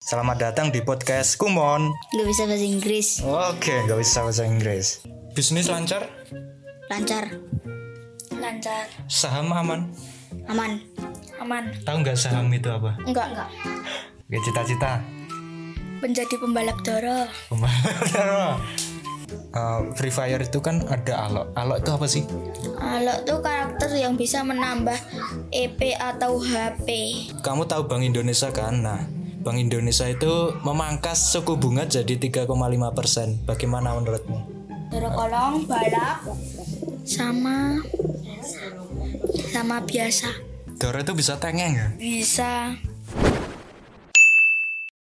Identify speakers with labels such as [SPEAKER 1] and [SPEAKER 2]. [SPEAKER 1] Selamat datang di podcast Kumon.
[SPEAKER 2] Lu bisa bahasa Inggris
[SPEAKER 1] Oke, nggak bisa bahasa Inggris. Bisnis lancar,
[SPEAKER 2] lancar
[SPEAKER 3] lancar
[SPEAKER 1] saham aman.
[SPEAKER 2] aman
[SPEAKER 3] aman
[SPEAKER 1] Tahu nggak saham itu apa?
[SPEAKER 3] enggak enggak
[SPEAKER 1] Oke, cita-cita.
[SPEAKER 3] menjadi pembalap dara
[SPEAKER 1] Pembalap. Eh, Free Fire itu kan ada alok. Alok itu apa sih?
[SPEAKER 3] kalau tuh karakter yang bisa menambah EP atau HP
[SPEAKER 1] Kamu tahu Bank Indonesia kan? Nah, Bank Indonesia itu memangkas suku bunga jadi 3,5 persen. Bagaimana menurutmu?
[SPEAKER 3] dara kolong balap sama sama biasa
[SPEAKER 1] Dora itu bisa tengeng ya?
[SPEAKER 3] bisa